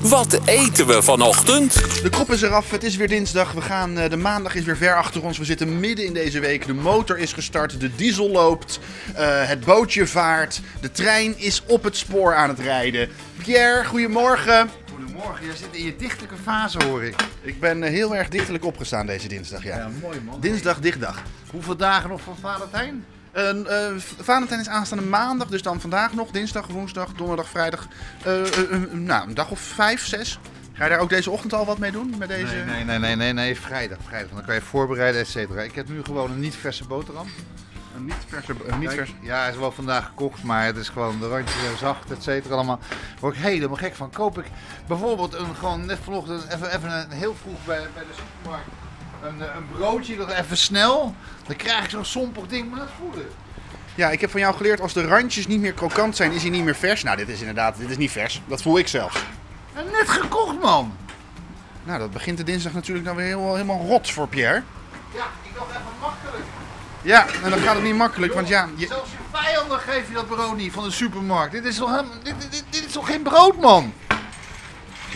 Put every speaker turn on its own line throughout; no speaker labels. Wat eten we vanochtend?
De kop is eraf, het is weer dinsdag. We gaan, eh, de maandag is weer ver achter ons. We zitten midden in deze week. De motor is gestart, de diesel loopt, eh, het bootje vaart. De trein is op het spoor aan het rijden. Pierre, goedemorgen.
Goedemorgen, jij zit in je dichtelijke fase hoor ik.
Ik ben eh, heel erg dichtelijk opgestaan deze dinsdag, ja.
mooi man.
Dinsdag, dichtdag.
Hoeveel dagen nog van Valentijn?
En, eh, v- Valentijn is aanstaande maandag, dus dan vandaag nog. Dinsdag, woensdag, donderdag, vrijdag. Eh, eh, eh, nou, een dag of vijf, zes. Ga je daar ook deze ochtend al wat mee doen? Met deze...
Nee, nee, nee, nee, nee, nee, vrijdag, vrijdag. Dan kan je voorbereiden, et cetera. Ik heb nu gewoon een niet verse boterham.
Een niet verse... een niet
Kijk,
verse...
Ja, hij is wel vandaag gekocht, maar het is gewoon de randjes zijn zacht, et cetera, allemaal. Daar word ik helemaal gek van. Koop ik bijvoorbeeld een, gewoon net vanochtend even, even een, heel vroeg bij, bij de supermarkt een, eh, een broodje, dat even snel. Dan krijg ik zo'n sompig ding, maar dat is voelen.
Ja, ik heb van jou geleerd, als de randjes niet meer krokant zijn, is hij niet meer vers. Nou, dit is inderdaad, dit is niet vers. Dat voel ik zelfs.
En net gekocht man!
Nou, dat begint de dinsdag natuurlijk dan weer heel, helemaal rot voor Pierre.
Ja, ik dacht even makkelijk.
Ja, en dan gaat het niet makkelijk, want ja... je-
Zelfs je vijanden geef je dat brood niet van de supermarkt. Dit is toch, helemaal- dit, dit, dit- dit is toch geen brood, man?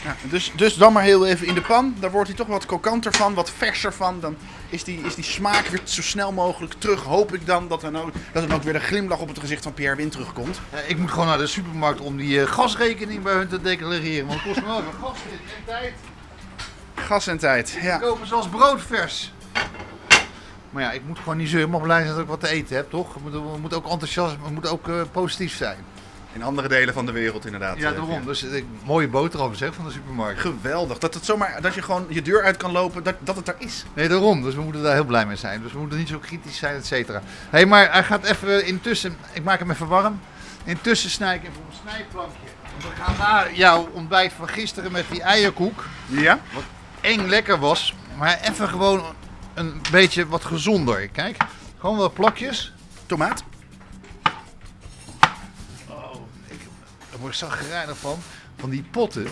ja, dus, dus dan maar heel even in de pan. Daar wordt hij toch wat krokanter van, wat verser van. Dan is die, is die smaak weer zo snel mogelijk terug. Hoop ik dan dat, dan ook, dat dan ook weer de glimlach op het gezicht van Pierre Win terugkomt.
Ja, Eh, ik moet gewoon naar de supermarkt om die eh, gasrekening bij hun te declareren. Want het kost me wel weer gas dit en tijd.
Gas en tijd, ja.
Kopen ze als brood vers. Maar ja, ik moet gewoon niet zo helemaal blij zijn dat ik wat te eten heb, toch? We moeten, we moeten ook enthousiast, we moeten ook eh, positief zijn.
In andere delen van de wereld inderdaad.
Ja,
eh,
daarom.
Pierre.
Dus eh, mooie boterham zeg van de supermarkt.
Geweldig. Dat, het zomaar, dat je gewoon je deur uit kan lopen, dat, dat het daar is.
Nee, daarom. Dus we moeten daar heel blij mee zijn. Dus we moeten niet zo kritisch zijn, et cetera. Hé, hey, maar hij gaat even intussen... Ik maak hem even warm. Intussen snij ik even op een snijplankje. Want we gaan naar jouw ontbijt van gisteren met die eierkoek.
Ja?
Eng lekker was. Maar even gewoon een beetje wat gezonder. Kijk, gewoon wat plakjes.
Tomaat?
Oh, ik daar word ik zagrijnig van. Van die potten.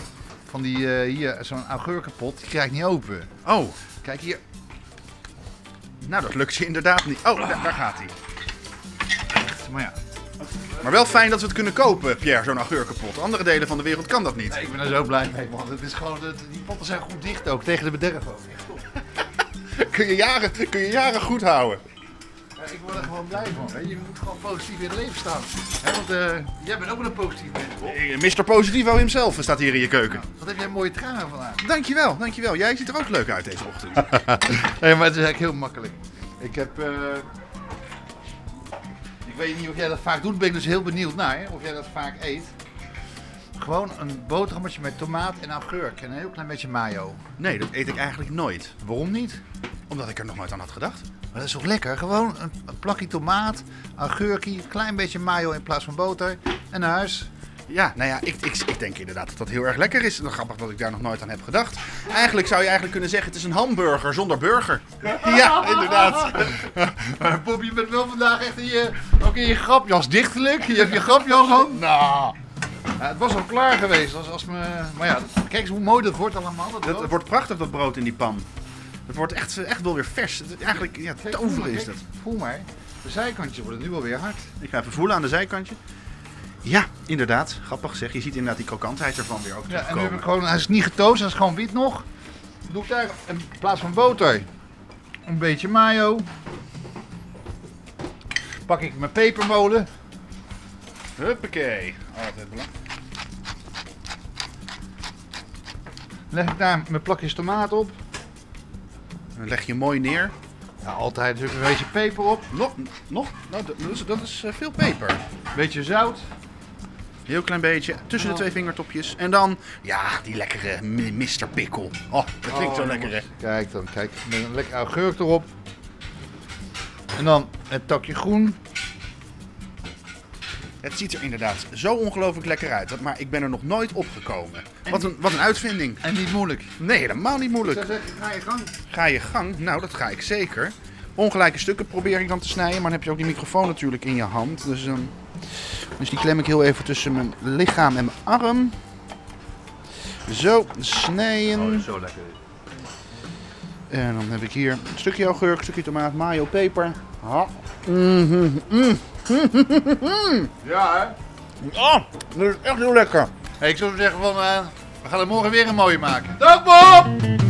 Van die, eh, hier, zo'n augurkenpot. Die krijg ik niet open.
Oh,
Kijk hier.
nou dat lukt je inderdaad niet. Oh, daar, daar gaat hij.
Maar ja,
Maar wel fijn dat we het kunnen kopen, Pierre, zo'n augurkenpot. Andere delen van de wereld kan dat niet.
Nee, ik ben er zo blij mee, man. Het is gewoon, het- die potten zijn goed dicht ook, tegen de bederf ook. Echt top.
Kun je jaren, kun je jaren goed houden.
Ja, ik word er gewoon blij van. Hè. Je moet gewoon positief in het leven staan. Hè, want eh, jij bent ook wel een positief mens, Bob.
Mr. Eh, Positivo himself staat hier in je keuken.
Wat heb jij een mooie trui vandaag.
Dankjewel, dankjewel. Jij ziet er ook leuk uit deze ochtend.
Nee, maar het is eigenlijk heel makkelijk. Ik heb... eh, ik weet niet of jij dat vaak doet, ben ik dus heel benieuwd naar, hè, of jij dat vaak eet. Gewoon een boterhammetje met tomaat en augurk en een heel klein beetje mayo.
Nee, dat eet ik eigenlijk nooit.
Waarom niet?
Omdat ik er nog nooit aan had gedacht.
Maar dat is toch lekker? Gewoon een, een plakje tomaat, augurkie, een klein beetje mayo in plaats van boter en naar huis.
Ja, nou ja, ik, ik, ik denk inderdaad dat dat heel erg lekker is. Dan grappig dat ik daar nog nooit aan heb gedacht. Eigenlijk zou je eigenlijk kunnen zeggen, het is een hamburger zonder burger. Ja, inderdaad.
Maar Bob, Eh, je bent wel vandaag echt in je, ook in je grapjas dichtelijk. Je hebt je grapjas aan. Nou, ja, het was al klaar geweest. Als, als me, maar ja, kijk eens hoe mooi dat wordt allemaal. Dat
Dat, het
brood.
wordt prachtig, dat brood in die pan. Het wordt echt, echt wel weer vers. Het- Eigenlijk, ja,
Kijk,
toveren
voel
is dat.
maar, kijk, Voel maar, de zijkantjes worden nu alweer hard.
Ik ga even voelen aan de zijkantje. Ja, inderdaad. Grappig zeg. Je ziet inderdaad die krokantheid ervan weer ook
Ja, en nu
terugkomen.
heb ik gewoon, hij is niet getoast, hij is gewoon wit nog. Dan doe ik daar in plaats van boter een beetje mayo. Pak ik mijn pepermolen.
Huppakee. Altijd belangrijk.
Leg ik daar mijn plakjes tomaat op.
Dan leg je mooi neer.
Ja, altijd natuurlijk een beetje peper op.
Nog, nog? Nou, dat dat is, dat is eh, veel peper.
Een beetje zout.
Heel klein beetje. Tussen
Oh.
de twee vingertopjes. En dan, ja, die lekkere mi- Mr. Pickle. Oh, dat klinkt zo
Oh,
lekker hè.
Kijk dan, kijk. Met een lekker augurk erop. En dan het takje groen.
Het ziet er inderdaad zo ongelooflijk lekker uit. dat- Maar ik ben er nog nooit opgekomen. Wat een, wat een uitvinding.
En niet moeilijk. Ik
Nee, helemaal niet moeilijk.
zou zeggen, ga je gang.
Ga je gang? Nou, dat ga ik zeker. Ongelijke stukken probeer ik dan te snijden, maar dan heb je ook die microfoon natuurlijk in je hand. Dus, ehm, dus die klem ik heel even tussen mijn lichaam en mijn arm. Zo, snijden.
zo lekker.
En dan heb ik hier een stukje augurk, een stukje tomaat, mayo, peper. Ha. Mhm, mm.
Ja, hè?
Oh, dat is echt heel lekker.
Hey, ik zou zeggen van, eh, We gaan er morgen weer een mooie maken. Dag Bob!